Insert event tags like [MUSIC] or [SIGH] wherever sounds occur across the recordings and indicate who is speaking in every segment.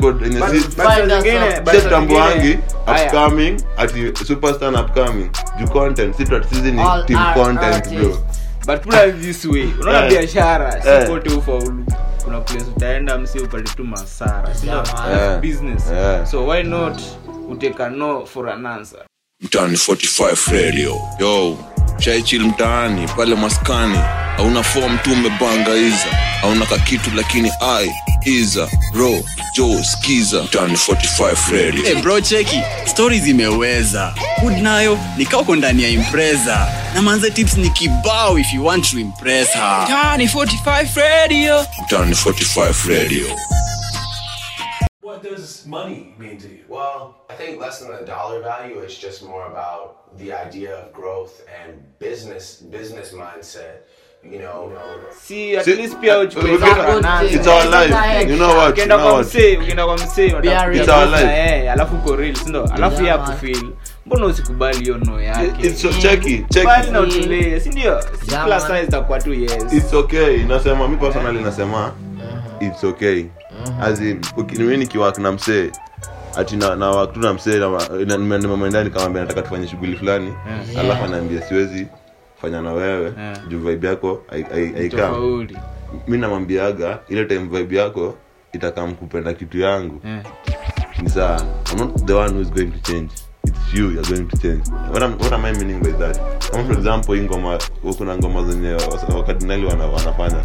Speaker 1: code yenye
Speaker 2: But-
Speaker 1: si-
Speaker 2: but saa
Speaker 3: Find us
Speaker 2: zingine-
Speaker 3: up.
Speaker 2: but
Speaker 1: si
Speaker 2: saa
Speaker 1: tutambuangi
Speaker 2: zingine- haya.
Speaker 1: upcoming ati superstar upcoming juu content si tuati sisi ni
Speaker 3: All
Speaker 1: team
Speaker 3: our
Speaker 1: content bro
Speaker 3: artists.
Speaker 2: but put it this way unaona
Speaker 1: Eh.
Speaker 2: biashara
Speaker 1: Eh.
Speaker 2: si kote ufaulu kuna place utaenda msi upate tu masara si ndio?
Speaker 1: Eh.
Speaker 2: business
Speaker 1: Eh.
Speaker 2: so why not uteka no for an answer
Speaker 4: mtaani 45 radio yo shaichil mtaani pale maskani hauna fom tu umebangaiza hauna kakitu lakini ai iza ro jo skiza mtaani 45 radio
Speaker 5: Hey bro cheki stori zimeweza food nayo nikauko ndani ya impreza na manze tips ni kibao if you want to impress her
Speaker 4: mtaani 45 radio
Speaker 6: What does money mean to you?
Speaker 7: Well, I think less than the dollar value, it's just more about the idea of growth and business business mindset. You know,
Speaker 2: si at
Speaker 1: Si-
Speaker 2: least pia uchukue
Speaker 1: we
Speaker 2: for
Speaker 1: can-
Speaker 2: an answer.
Speaker 1: it's our life
Speaker 3: Like,
Speaker 1: you know what you
Speaker 2: ukienda
Speaker 1: know
Speaker 2: kwa
Speaker 1: what
Speaker 2: msee ukienda kwa msee unataka
Speaker 3: are
Speaker 1: real.
Speaker 2: kupiga
Speaker 1: It's our
Speaker 2: pesa,
Speaker 1: life.
Speaker 2: eh, alafu uko real si ndio alafu yeye
Speaker 3: Yeah, man.
Speaker 2: akufeel mbona usikubali hiyo no yake
Speaker 1: it's so checky
Speaker 2: Bali
Speaker 1: checky
Speaker 2: na utulie si ndio si
Speaker 3: Yeah,
Speaker 2: plus
Speaker 3: man.
Speaker 2: size itakuwa tu yes
Speaker 1: it's okay nasema mi personally nasema
Speaker 2: Uh-huh.
Speaker 1: it's okay as in uki- mimi nikiwak na msee ati na na work tu na msee na ma- na- nime- nimemwendea nikamwambia nataka tufanye shughuli fulani alafu anaambia siwezi fanya na wewe
Speaker 2: Yeah.
Speaker 1: juu vibe yako hai- hai- haikaa
Speaker 2: tofauti
Speaker 1: mi namwambiaga ile time vibe yako itakam kupenda kitu yangu
Speaker 2: Eh.
Speaker 1: ni saa i'm not the one who's going to change it's you you're going to change what am, what am i meaning by that kama for example hii ngoma kuna ngoma zenye wasa- wakardinali wana, wanafanya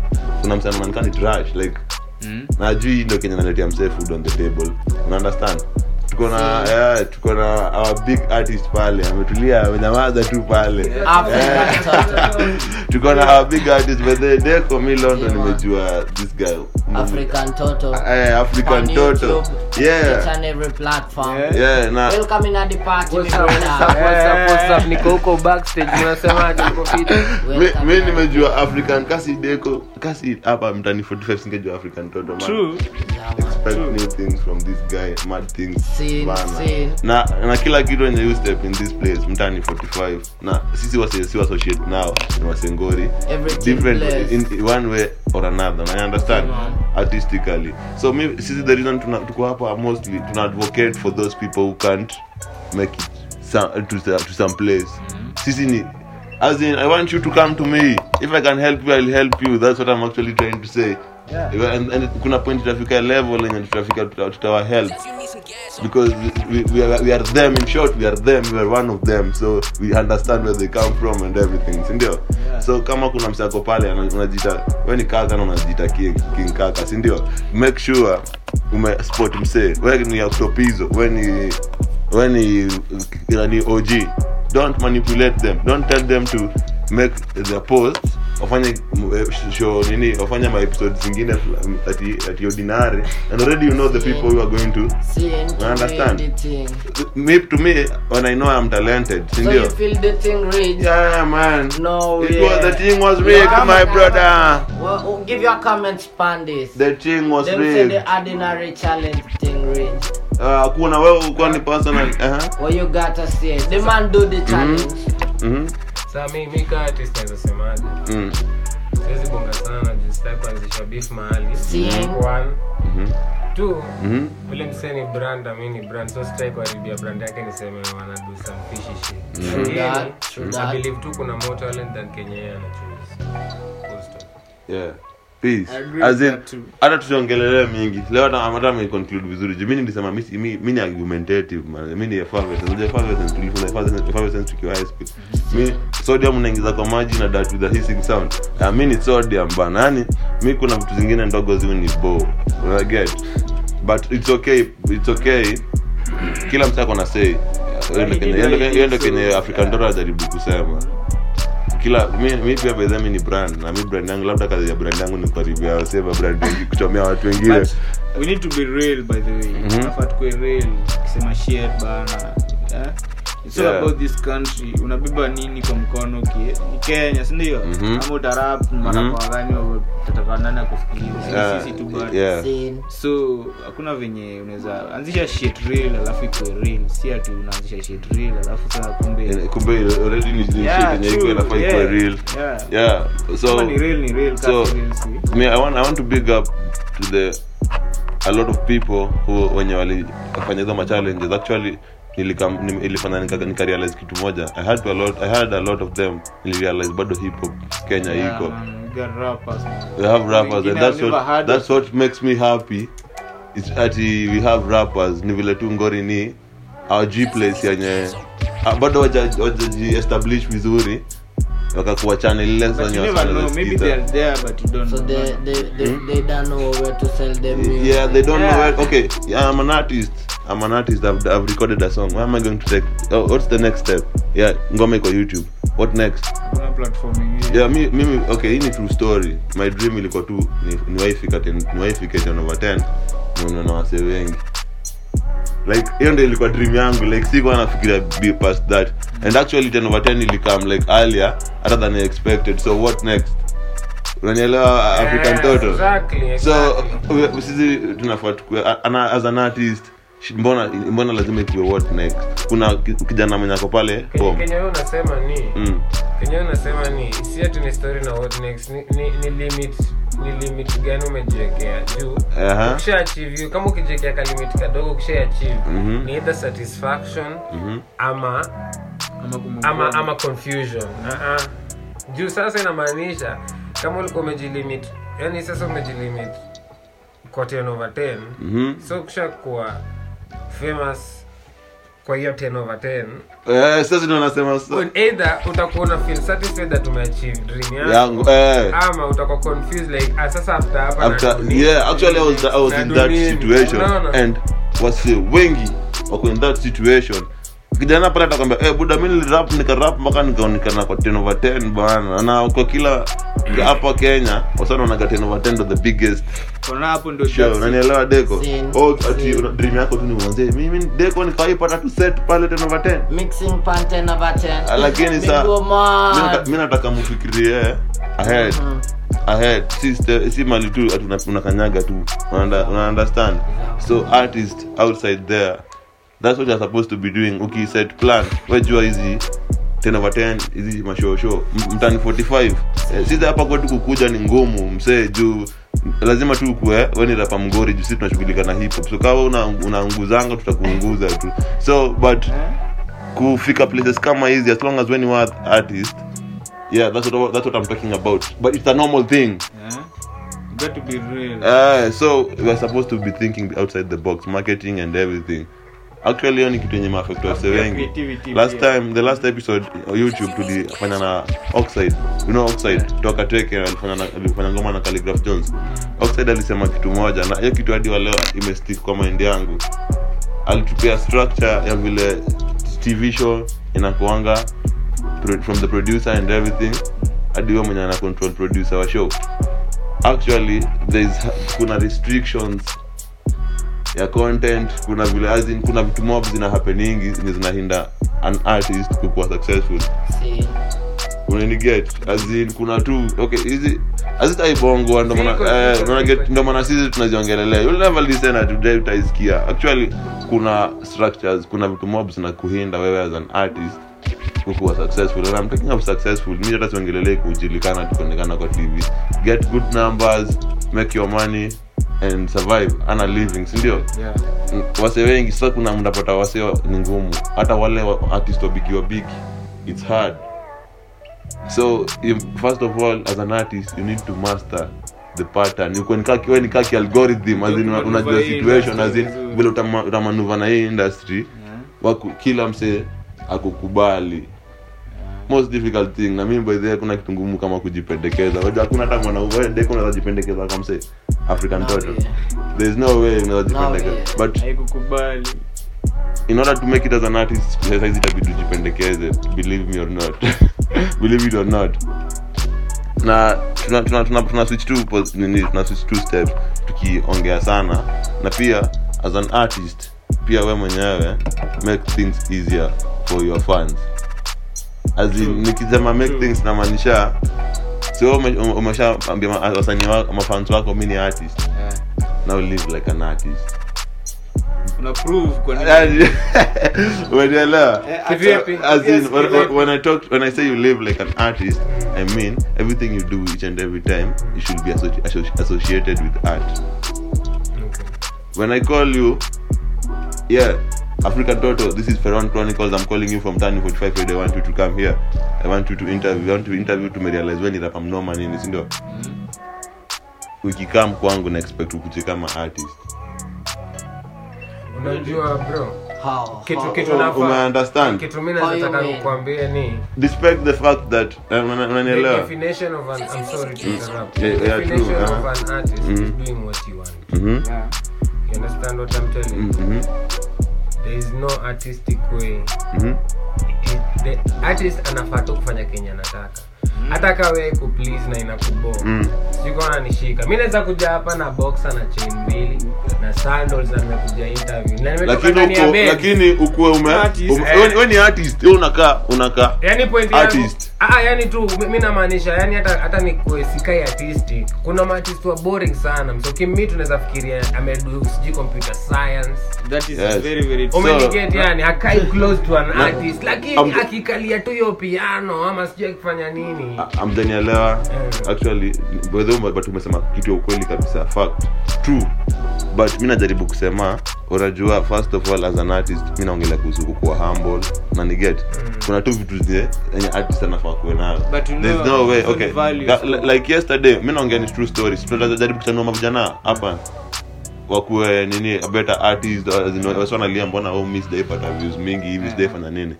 Speaker 1: kuna msee anaonekana ni trash like
Speaker 2: Mm.
Speaker 1: najui hii ndio kenye naletea msee food on the table una understand tuko na yeah, tuko na our big artist pale ametulia amenyamaza tu pale
Speaker 3: Africa, tata.
Speaker 1: [LAUGHS] tuko na our big artist but the deko mi london nimejua this guy
Speaker 3: African Toto.
Speaker 1: eh,
Speaker 3: On
Speaker 1: african toto
Speaker 3: YouTube, It's
Speaker 1: yeah
Speaker 3: on every platform.
Speaker 2: Yeah.
Speaker 1: yeah na
Speaker 3: Welcome in at the party,
Speaker 8: What's
Speaker 3: my
Speaker 8: up, what's up,
Speaker 3: brother.
Speaker 8: what's up, what's up?
Speaker 2: Eh.
Speaker 8: niko huko backstage unasemaje uko fiti
Speaker 1: mi,
Speaker 3: Welcome
Speaker 1: mi
Speaker 3: in.
Speaker 1: nimejua african kasi deko kasi hapa mtani 45 singejua african toto man.
Speaker 2: true
Speaker 3: Yeah, man.
Speaker 1: expect new things from this guy mad things
Speaker 3: Sin,
Speaker 1: bana.
Speaker 3: sin.
Speaker 1: na na kila kitu enye you step in this place mtani 45 na sisi wase si associate now ni wasengori
Speaker 3: Everything
Speaker 1: different
Speaker 3: blessed.
Speaker 1: in in one way or another na I understand artistically so mi sisi the reason tuna, tuko hapa mostly tuna advocate for those people who can't make it some, to, some- to some place
Speaker 3: Mm-hmm.
Speaker 1: sisi ni as in i want you to come to me if i can help you i'll help you that's what i'm actually trying to say yeah. and, and kuna point tutafika level enye tutafika tuta- tutawa help because we, we, are, we are them in short we are them we are one of them so we understand where they come from and everything sindio yeah. so kama kuna msako pale ana- unajita we ni kaka na unajiita king, king kaka sindio make sure ume spot msee we ni octopizo we ni we ni nani og don't manipulate them don't tell them to make their post wafanye m- eh, sh- show nini wafanye maepisode zingine fla- ati ati ordinary and already you know the people who are going to
Speaker 3: Sin,
Speaker 1: I understand.
Speaker 3: read the thing.
Speaker 1: me to me when I know I'm talented,
Speaker 3: So you
Speaker 1: sindio?
Speaker 3: feel the thing rage?
Speaker 1: Yeah, man.
Speaker 3: No
Speaker 1: It
Speaker 3: way.
Speaker 1: was the thing was rigged,
Speaker 3: Yeah,
Speaker 1: my
Speaker 3: man.
Speaker 1: brother.
Speaker 3: Well, oh, give your comments, Pandis.
Speaker 1: The thing was
Speaker 3: Them say
Speaker 1: rigged.
Speaker 3: the ordinary challenge thing rage.
Speaker 1: Uh, kuna wewe ulikuwa ni personal. Uh-huh.
Speaker 3: What you gotta say? The man do the challenge.
Speaker 1: Mm-hmm.
Speaker 8: Sasa mi- mi kama artist naweza semaje
Speaker 1: Mm.
Speaker 8: siwezi bonga sana juu sitaki kuanzisha beef mahali
Speaker 1: Mm-hmm.
Speaker 3: Same.
Speaker 8: one
Speaker 1: Mhm.
Speaker 8: two
Speaker 1: Mhm.
Speaker 8: ule msee ni brand na mi ni brand so sitaki kuharibia brand yake niseme wanadu some fishy shit
Speaker 1: Mm-hmm.
Speaker 3: that,
Speaker 8: Lakini,
Speaker 3: true
Speaker 8: I
Speaker 3: that.
Speaker 8: believe tu kuna more talent than Kenya yeye anachoose Full stop.
Speaker 1: Yeah. Peace.
Speaker 2: I agree
Speaker 1: As
Speaker 2: with
Speaker 1: in,
Speaker 2: that too.
Speaker 1: hata tusiongelelea mingi leo hata hata nimeconclude vizuri juu mi nilisema mi si- mi mi ni argumentative man mi ni effervescence Unajua effervescence tulifunza effervescence effervescence tukiwa high school mi sodium unaingiza kwa maji na dat with a hissing sound Ah, mi ni sodium bana yani mi kuna vitu zingine ndogo ziwe ni bo unaget but it's okay it's okay kila mtu ako na say Hiyo ndio kenye- hiyo ndio- hiyo ndio kenye african dora anajaribu kusema kila mi, mi pia by the way, mi ni brand na mi brand yangu labda kazi ya brand yangu ni kuharibia wasema brand wengi kuchomea watu wengine
Speaker 2: But we need to be real by the way
Speaker 1: Mhm.
Speaker 2: tunafaa tukue real ukisema shit bana eh? It's all
Speaker 1: Yeah.
Speaker 2: about this country unabeba nini kwa mkono ki- ni kenya sindio
Speaker 1: Mhm.
Speaker 2: ama utarap
Speaker 1: Mhm.
Speaker 2: marapawagani tatakanani akufikiri
Speaker 1: Yeah,
Speaker 2: sisi tu bana
Speaker 1: yeah.
Speaker 3: Sin.
Speaker 2: so hakuna venye unaweza anzisha shit real alafu ikue real si ati unaanzisha shit real alafu saa
Speaker 1: Eh,
Speaker 2: kumbe
Speaker 1: kumbe already ni- ni
Speaker 2: Yeah,
Speaker 1: shit yenye iko
Speaker 2: true,
Speaker 1: inafaa ikuwe
Speaker 2: yeah,
Speaker 1: real
Speaker 2: yeah.
Speaker 1: yeah so
Speaker 2: Kama ni real ni real
Speaker 1: so-
Speaker 2: kama si real si
Speaker 1: me, I want I want to big up to the a lot of people who wenye walifanya hizo machallenges actually nilikam- nim- ilifanya nika- nikarealize kitu moja i had, to a lot, I had a lot of them nilirealize bado hip hop kenya
Speaker 2: Yeah,
Speaker 1: iko
Speaker 2: man, we got rappers, man.
Speaker 1: we have rappers
Speaker 2: Wengine
Speaker 1: and that's
Speaker 2: I've never
Speaker 1: what,
Speaker 2: heard
Speaker 1: that's what makes me happy is ati we have rappers ni vile tu ngori ni our g place yenye ah, bado waja- wajajiestablish vizuri wakakuwa channel ile
Speaker 2: But
Speaker 1: zenye
Speaker 2: you never know, maybe
Speaker 1: wanasikika.
Speaker 2: they are there, but you don't
Speaker 3: So
Speaker 2: know.
Speaker 3: they they they, they don't know where to sell their music.
Speaker 1: Mm-hmm. yeah they don't know
Speaker 2: Yeah.
Speaker 1: where okay yeah, i'm an artist i'm an artist I've, I've recorded a song where am i going to take oh, what's the next step yeah ngoma iko youtube what next
Speaker 2: Kuna platform ingine.
Speaker 1: yeah mi, mimi okay hii ni true story my dream ilikuwa tu ni- niwaifika 10 niwaifike 10 over 10 nione na wasee wengi like hiyo ndio ilikuwa dream yangu like sikuwa nafikiria be past that and actually 10 over 10 ilikam like earlier rather than I expected so what next unanielewa african
Speaker 8: Yeah,
Speaker 1: toto
Speaker 8: exactly,
Speaker 1: so
Speaker 8: exactly.
Speaker 1: we- sisi tunafaa tukue a- ana- as an artist sh- mbona mbona lazima ikuwe what next kuna ki- kijana mwenye ako pale
Speaker 8: Kenya-
Speaker 1: home
Speaker 8: Kenya wewe unasema ni
Speaker 1: mm.
Speaker 8: Kenya wewe unasema ni si ati ni story na what next ni, ni, ni limit ni limit gani umejiwekea juu
Speaker 1: Aha.
Speaker 8: ukisha achieve you- kama ukijiwekea ka limit kadogo ukisha achieve
Speaker 1: Mhm.
Speaker 8: ni either satisfaction
Speaker 1: Mhm.
Speaker 8: ama
Speaker 2: Ama kumwongoa.
Speaker 8: ama ama confusion uh-uh. juu sasa inamaanisha kama ulikuwa umejilimit yani sasa umejilimit kwa 10 over 10
Speaker 1: Mhm.
Speaker 8: so kisha kuwa famous kwa hiyo 10 over 10
Speaker 1: Eh, sasa ndio nasema sasa.
Speaker 8: Well, either utakuwa una feel satisfied that umeachieve dream yako
Speaker 1: yangu eh.
Speaker 8: ama utakuwa confused like ah, sasa after hapa
Speaker 1: after
Speaker 8: na nini?
Speaker 1: yeah actually i was, I was
Speaker 8: Na
Speaker 1: in that
Speaker 8: nini?
Speaker 1: situation
Speaker 8: Unaona?
Speaker 1: and wasi wengi wako in that situation kijana pale atakwambia eh buda mi nilirap nikarap mpaka nikaonekana kwa 10 over 10 bana na kwa kila hapa kenya wasana wanaga 10 over 10 ndo the biggest
Speaker 2: Kuna hapo ndio
Speaker 1: show
Speaker 2: that's it.
Speaker 1: unanielewa deko
Speaker 3: Sin.
Speaker 1: oh ati
Speaker 3: Sin.
Speaker 1: una- dream yako tu ni mwanzee mimi deko nikaipata tu set pale 10 over 10
Speaker 3: Mixing pan 10 over 10.
Speaker 1: Lakini sa-
Speaker 3: Migo man.
Speaker 1: Mi nataka- mi nataka mfikirie ahead
Speaker 3: Mhm.
Speaker 1: ahead si, ste- si mali tu ati una- unakanyaga tu Unaunda- una understand so artist outside there that's what you're supposed to be doing ukiset plan wejua hizi 10 over 10 hizi mashoosho M- mtani 45 eh, sisi hapa kwetu kukuja ni ngumu msee juu lazima tu kuwe weni rapa mgori juu sisi tunashughulika na hip hop so kama una- unaunguzanga tutakuunguza tu so but kufika places kama hizi as long as when you are artist yeah that's what, that's what i'm talking about but it's a normal thing
Speaker 2: Yeah. You got to be real.
Speaker 1: uh, so we're supposed to be thinking outside the box marketing and everything actually hiyo ni kitu yenye maafekti wase
Speaker 2: Yeah,
Speaker 1: wengi
Speaker 2: Ah, creativity
Speaker 1: last
Speaker 2: pia.
Speaker 1: time the last episode youtube tulifanya na oxide you know oxide toka teke alifanya na- alifanya ngoma na Khaligraph jones oxide alisema kitu moja na hiyo kitu hadi waleo imestick kwa maindi yangu alitupea structure ya vile tv show inakuanga pro- from the producer and everything hadi huyo mwenye ana control producer wa show actually there's kuna restrictions ya content kuna vile as in, kuna vitu mob zina happeningi zenye zinahinda an artist kukuwa successful
Speaker 3: See.
Speaker 1: unaniget as in kuna tu okay hizi hazitaibongwa ndo maana-
Speaker 8: Ziko,
Speaker 1: eh,
Speaker 8: ziko,
Speaker 1: unaona get-
Speaker 8: ziko.
Speaker 1: ndo maana sisi tunaziongelelea You'll never listen na today utaisikia actually kuna structures kuna vitu mob zinakuhinda wewe as an artist kukuwa successful and I'm talking of successful mimi hata siongelelei kujulikana tukuonekana kwa TV get good numbers make your money and survive ana living si ndio
Speaker 2: Yeah.
Speaker 1: wase wengi sasa kuna mnapata wase ni ngumu hata wale wa- artist wabigi wabigi it's hard so if, first of all as an artist you need to master the pattern Uko ni kaki- wewe ni kaki algorithm as in una- unajua
Speaker 2: Kumanuva hii
Speaker 1: situation as in
Speaker 2: industry.
Speaker 1: vile utama- utamanuva na hii industry
Speaker 2: Yeah.
Speaker 1: waku, kila msee akukubali most difficult thing na mimi by the way kuna kitu ngumu kama kujipendekeza Wajua hakuna hata mwanaume wewe deko unaweza jipendekeza kwa msee african
Speaker 3: No
Speaker 1: total
Speaker 3: way.
Speaker 1: there is no way unaweza jipendekeza
Speaker 3: way.
Speaker 1: but
Speaker 2: Haikukubali.
Speaker 1: in order to make it as an artist saizi itabidi ujipendekeze believe me or not [LAUGHS] believe it or not na tuna, tuna, tuna, tuna switch two pos- nini tuna switch two steps tukiongea sana na pia as an artist pia we mwenyewe make things easier for your fans as in nikisema make things namaanisha sio umeshaambia wasanii wako mafans wako mi ni artist
Speaker 2: Yeah.
Speaker 1: now live like an artist
Speaker 2: Una prove kwa nini.
Speaker 1: Yaani, [LAUGHS] umenielewa
Speaker 2: Eh,
Speaker 8: Kivipi?
Speaker 2: hata-
Speaker 1: as in
Speaker 2: yes,
Speaker 1: when,
Speaker 2: kivipi?
Speaker 1: when- when i talk when i say you live like an artist i mean everything you do each and every time you should be associ- associ- associated with art
Speaker 8: Okay.
Speaker 1: when I call you, yeah, African Toto, this is Ferron Chronicles. I'm calling you from Tani 45 Radio. I want you to come here. I want you to interview. I want to interview to realize when it I'm normal nini, si ndio?
Speaker 2: Mm.
Speaker 1: Ukikam kwangu na expect ukuje kama artist.
Speaker 8: unajua bro
Speaker 3: How?
Speaker 8: kitu
Speaker 3: how-
Speaker 8: kitu
Speaker 1: Ume-
Speaker 8: nafaa-
Speaker 1: ume understand?
Speaker 8: kitu mimi
Speaker 3: How you
Speaker 8: nataka
Speaker 3: mean?
Speaker 8: kukuambia ni
Speaker 1: Despite the fact that eh, una-
Speaker 8: the
Speaker 1: unanielewa.
Speaker 8: definition of an I'm sorry to interrupt.
Speaker 1: Mm. Yeah, yeah,
Speaker 8: The
Speaker 1: true,
Speaker 8: definition of
Speaker 1: uh-huh.
Speaker 8: an artist is doing what you want.
Speaker 1: Mhm.
Speaker 2: Yeah.
Speaker 8: You understand what I'm telling you?
Speaker 1: Mhm.
Speaker 8: There is no artistic way.
Speaker 1: Mhm.
Speaker 8: It- the artist anafaa tu kufanya kenye anataka hata kawe kuplease na inakubo
Speaker 1: Mm.
Speaker 8: nishika mi naweza kuja hapa na boxa na chain mbili na sandals na nimekuja interview na nimetoka
Speaker 1: lakini
Speaker 8: ndani ya
Speaker 1: uko
Speaker 8: bed.
Speaker 1: lakini ukuwe ume
Speaker 2: Artist. eh.
Speaker 1: ume- wewe ni- wewe ni artist wewe unakaa unakaa
Speaker 8: yani Yaani point yangu-
Speaker 1: Artist.
Speaker 8: Ah, yani tu mi- mi namaanisha yani hata hata ni kuesikai artisti kuna maartist wa boring sana msokimi tunaweza fikiria amedu sijui computer science
Speaker 2: That is
Speaker 1: Yes.
Speaker 2: very, very true.
Speaker 1: Ume-
Speaker 8: umenigeti
Speaker 1: na-
Speaker 8: yani hakai close to an artist lakini
Speaker 1: Am-
Speaker 8: akikalia tu hiyo piano ama sijui akifanya nini
Speaker 1: Ah, hamjanielewa
Speaker 8: Eh.
Speaker 1: actually by the way, but umesema kitu ya ukweli kabisa fact true but mi najaribu kusema unajua first of all as an artist mi naongelea kuhusu kukuwa humble na niget kuna tu vitu zenye enye artist anafaa kuwe nayo
Speaker 2: Mm. But you
Speaker 1: There's
Speaker 2: know,
Speaker 1: no way
Speaker 2: hizo ni
Speaker 1: okay
Speaker 2: values.
Speaker 1: Ga- li- like yesterday mi naongea ni true stories tunajaribu kutanua mavijana hapa wakuwe nini a better artist uh, zino- wasi wanalia mbona oh, mi sijaipata views mingi hivi sijaifanya nini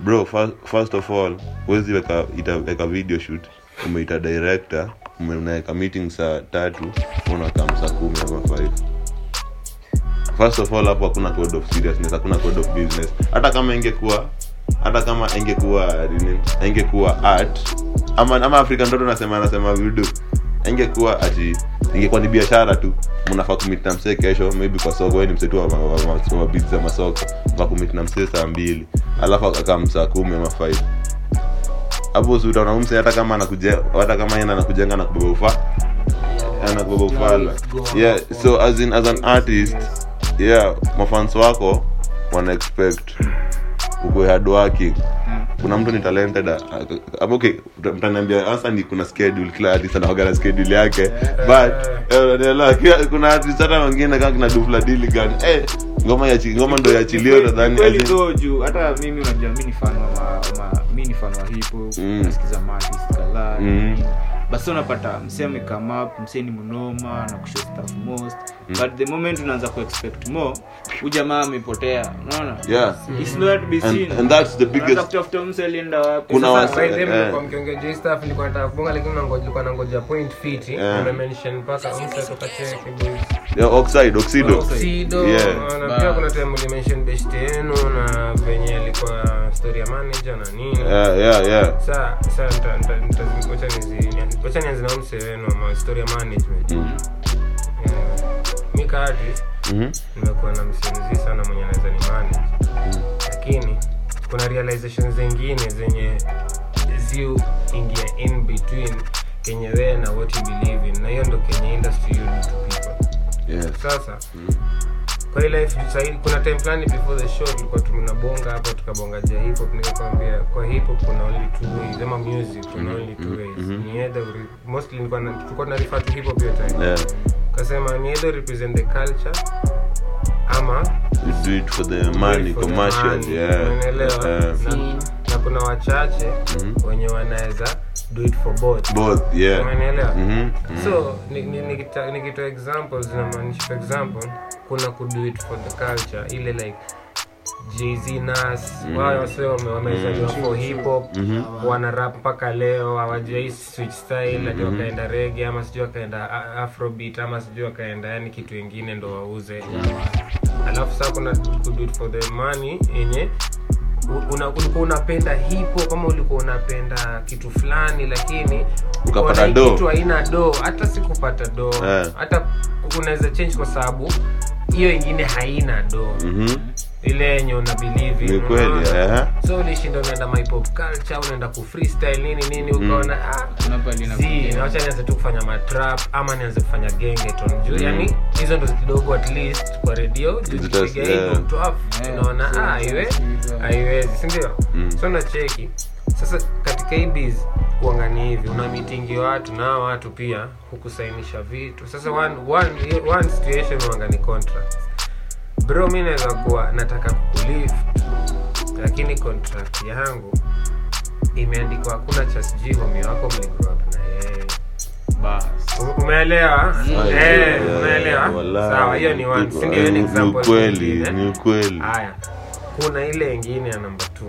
Speaker 1: bro first, first of all huwezi weka ita- weka video shoot umeita director ume- unaweka meeting saa tatu unakam saa kumi ama five first of all hapo hakuna code of seriousness hakuna code of business hata kama ingekuwa hata kama ingekuwa nini ingekuwa art ama ama african ndoto nasema anasema video ingekuwa ati ingekuwa ni biashara tu mnafaa kumit na msee kesho maybe kwa soko wewe ni msee tu wa- wa- wa- wa- wa beats za masoko mnafaa kumit na msee saa mbili alafu akakam saa kumi ama five hapo si utaona huyu msee hata kama anakujenga hata kama yeye anakujenga na kubeba ufa anabeba ufala yeah so as in as an artist yeah mafans wako wana expect ukuwe hard working kuna mtu ni talented ah, ah, okay mta- mtaniambia hasa ni kuna schedule kila artist anaoga na schedule yake but eh, unaelewa kila- kuna artist hata wengine kama kina Dufla Diligan eh ngoma ya ngoma ndo yachilio nadhani
Speaker 2: Kweli
Speaker 1: as in-
Speaker 2: though juu hata mimi unajua mi ni fan wa ma- ma- mi ni fan wa hip hop
Speaker 1: Mm.
Speaker 2: nasikiza maartist kadhaa
Speaker 1: Mm.
Speaker 2: nini. basi unapata msee amekame up msee ni mnoma na kushow stuff most
Speaker 1: Mm.
Speaker 2: but the moment unaanza kuexpect more hujamaa amepotea unaona
Speaker 1: yeah
Speaker 2: It's not to be seen.
Speaker 1: and, and that's the
Speaker 2: Unaanza
Speaker 1: biggest
Speaker 2: kutafuta huyu msee alienda wapi
Speaker 1: Kuna
Speaker 2: Sasa,
Speaker 1: wasa-
Speaker 8: By the way,
Speaker 1: eh,
Speaker 8: mlikuwa mkiongea juu hii stuff, nilikuwa nataka kufunga, lakini nangoja- nilikuwa nangoja point fiti.
Speaker 1: Eh.
Speaker 8: Umemention mpaka Musa kutoka Cheki Boys.
Speaker 1: yeah, oxide oxido
Speaker 8: Oxido,
Speaker 1: Yeah.
Speaker 8: na pia kuna time ulimention best yenu na venye alikuwa story ya manager na nini.
Speaker 1: yeah yeah yeah
Speaker 8: Sa- sa, nita- nita- nita- wacha nizi- wacha nianze na huyu msee wenu ama story ya management. Eh, mi ka artist,
Speaker 1: mhm
Speaker 8: nimekuwa na msee mzii sana mwenye anaweza ni manage lakini kuna realization zingine zenye ziuingia in between kenye wee na what you believe in na hiyo ndo kenye industry you do to people
Speaker 1: yes
Speaker 8: sasa kwa ile life sahii kuna time fulani before the show tulikuwa tunabonga hapo tukabonga ja hip hop nikakwambia kwa hip hop kuna only two ways ama music kuna
Speaker 1: Mm-hmm.
Speaker 8: only two ways ni either we- mostly nilikuwa na- tulikuwa na refer to hip hop hiyo time
Speaker 1: yeah
Speaker 8: kasema ni either represent the culture ama
Speaker 1: you do it for the money
Speaker 8: for the
Speaker 1: commercial
Speaker 8: money,
Speaker 1: yeah
Speaker 8: unaelewa?
Speaker 1: yeah. Mm-hmm.
Speaker 8: Na- na kuna wachache wenye wanaweza do it for both
Speaker 1: both yeah
Speaker 8: umeelewa
Speaker 1: mhm
Speaker 8: so ni- ni- nikita- nikitoa examples namaanisha for example kuna ku do it for the culture ile like jz nas wao wase wame- wamezaliwa for hip hop wana rap mpaka leo hawajai switch style ati wakaenda rege ama sijui wakaenda a- afrobeat ama sijui wakaenda yani kitu ingine ndo wauze alafu saa kuna ku do it for the money yenye u- una- ulikuwa unapenda hipo kama ulikuwa unapenda kitu fulani lakini
Speaker 1: Ukapata
Speaker 8: ukaona hii
Speaker 1: doo.
Speaker 8: kitu haina doo hata sikupata doo
Speaker 1: Eh.
Speaker 8: hata unaweza change kwa sababu hiyo ingine haina doo
Speaker 1: mhm
Speaker 8: ile yenye una believe in,
Speaker 1: ni kweli
Speaker 8: unaona?
Speaker 1: eh
Speaker 8: so ulishinda unaenda my pop culture unaenda ku freestyle nini nini
Speaker 1: Mm.
Speaker 8: ukaona ah,
Speaker 2: kuna pahali inakuja.
Speaker 8: zi nawacha nianze tu kufanya matrap ama nianze kufanya gengeton
Speaker 1: Mm.
Speaker 8: juu yani hizo ndo kidogo at least kwa redio juu
Speaker 1: Zita-
Speaker 8: kipiga
Speaker 1: yeah.
Speaker 8: hivyo mtu afu
Speaker 2: Yeah,
Speaker 8: unaona
Speaker 2: so
Speaker 8: ah,
Speaker 2: it's
Speaker 8: iwe
Speaker 2: easier.
Speaker 1: Mm.
Speaker 8: haiwezi sindio so nacheki sasa katika hii biz kuangani hivi una mitingi watu na hawa watu pia hukusainisha vitu sasa
Speaker 1: Mm.
Speaker 8: one, one, one situation wangani contract bro mi naweza kuwa nataka kukulift lakini contract yangu imeandikwa hakuna cha sijui mami wako mligrow up na yeye
Speaker 2: bas
Speaker 8: Um- umeelewa Eh,
Speaker 1: Yeah,
Speaker 8: umeelewa
Speaker 1: walai,
Speaker 8: sawa hiyo ni one
Speaker 1: people,
Speaker 8: si ndio hiyo ni
Speaker 1: yaani ni- ni
Speaker 8: example
Speaker 1: ukweli
Speaker 8: nyingine. Ah.
Speaker 1: ni ukweli
Speaker 8: haya kuna ile ingine ya namba t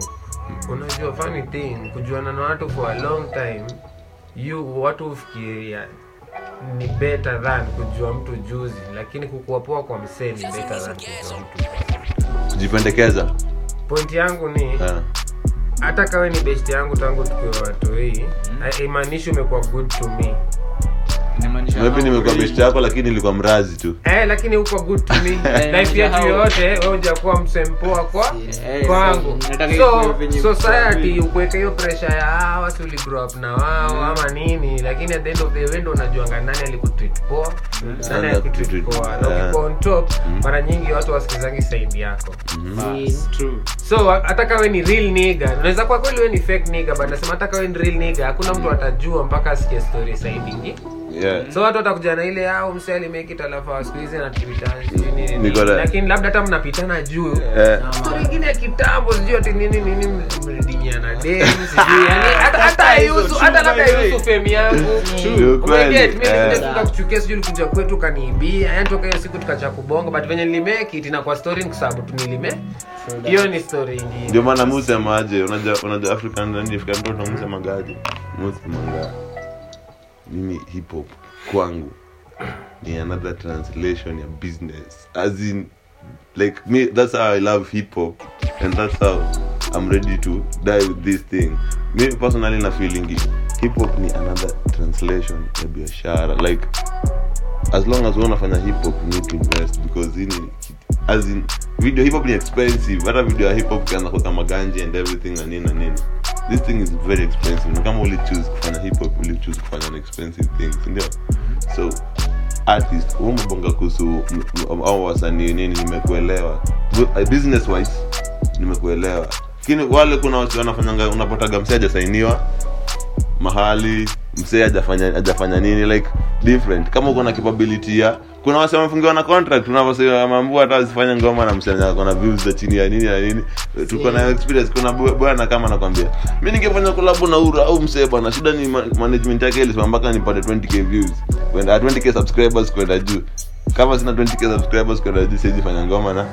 Speaker 8: unajua funny thing kujuana na watu for a long time you watu ufikiria ni better than kujua mtu juzi lakini kukuwa poa kwa msee ni better than kujua mtu
Speaker 1: kujipendekeza
Speaker 8: point yangu ni
Speaker 1: Ah,
Speaker 8: hata kawe ni best yangu tangu tukiwa watoi mm. imaanishi umekuwa good to me
Speaker 2: inamaanisha
Speaker 1: maybe
Speaker 2: hao
Speaker 1: nimekuwa
Speaker 2: kweli-
Speaker 1: best yako lakini nilikuwa mrazi tu
Speaker 8: Eh, lakini uko good to me na
Speaker 2: [LAUGHS] Eh,
Speaker 8: pia tu
Speaker 2: hao-
Speaker 8: yoyote wewe hujakuwa msempoa kwa
Speaker 2: Eh,
Speaker 8: kwangu
Speaker 2: so, nataka ikuwe
Speaker 8: so
Speaker 2: venye-
Speaker 8: society ukuweke hiyo pressure ya ah, watu uli grow up na wao
Speaker 2: Mm.
Speaker 8: ama nini lakini at the end of the window unajuanga nani alikutreat poa
Speaker 2: Mm.
Speaker 8: nani
Speaker 1: Nani
Speaker 8: alikutreat
Speaker 1: alikutreat-
Speaker 8: poa na
Speaker 1: yeah.
Speaker 8: ukikuwa on top mara nyingi watu wasikizangi side yako
Speaker 2: Bas, true.
Speaker 8: so hata kawe ni real niga unaweza kuwa kweli we ni fake niga but nasema hata kawe ni real niga hakuna
Speaker 2: Mm.
Speaker 8: mtu atajua mpaka asikie story side ingi
Speaker 1: yeah.
Speaker 8: so watu watakuja na ile au msee alimekit alafu asikuhizi
Speaker 1: Niko na-
Speaker 8: natulitani labda hata mnapitana juu
Speaker 1: Eh,
Speaker 8: stori ingine ya kitambo sijui ati nini nini mlidingiana dem sijui
Speaker 1: [LAUGHS]
Speaker 8: yani hata hata
Speaker 2: Hizo
Speaker 8: haihusu hata
Speaker 2: true,
Speaker 8: labda
Speaker 2: by the way.
Speaker 8: haihusu fame yangu
Speaker 1: Ni ukweli.
Speaker 8: Umeget, Mm. mimi
Speaker 1: Eh.
Speaker 8: nilikuja kutoka kuchukia sijui ulikuja kwetu kaniibia yani toka hiyo siku tukacha kubonga but venye nilimake it inakuwa story ni kwa sababu tu nilime hiyo ni story ingine
Speaker 1: ndio maana musemaje unajua unajua african nani african mtoto musemagaje musemanga mimi hip hop kwangu ni another translation ya business as in like me that's how i love hip hop and that's how i'm ready to die with this thing me personally na feeling it hip hop ni another translation ya biashara like as long as wewe unafanya hip hop you need to invest because in as in video hip hop ni expensive hata video ya hip hop kianza kwa maganje and everything na nini na nini this thing is very expensive na kama uli choose kufanya hip hop uli choose kufanya an expensive thing si ndio so artist wewe umebonga kuhusu m- m- au wasanii nini nimekuelewa Bu- uh, business wise nimekuelewa lakini wale kuna wasi wanafanyanga unapataga msee hajasainiwa mahali msee hajafanya hajafanya nini like different kama uko na capability ya kuna wase wamefungiwa na contract unavosemaambua hata asifanye ngoma na msee ako na views za chini ya nini na nini tuko na experience kuna bu- bwana kama anakwambia mi ningefanya kolabu na ura au msee bwana shida ni ma- management yake ilisema mpaka nipate 20k views kwenda 20k subscribers kwenda juu kama sina 20k subscribers kwenda juu siwezi fanya ngoma na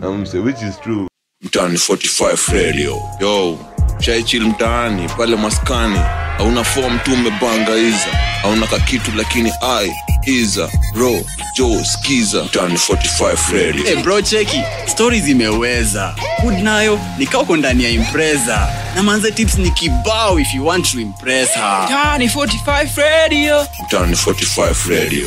Speaker 1: na msee which is true
Speaker 4: mtaani 45 radio yo shaichil mtaani pale maskani hauna fom tu umebanga iza hauna kakitu lakini i iza ro jo skiza mtaani 45 radio
Speaker 5: Hey bro cheki stori zimeweza hood nayo nikauko ndani ya impreza na manze tips ni kibao if you want to impress her
Speaker 4: mtaani 45 radio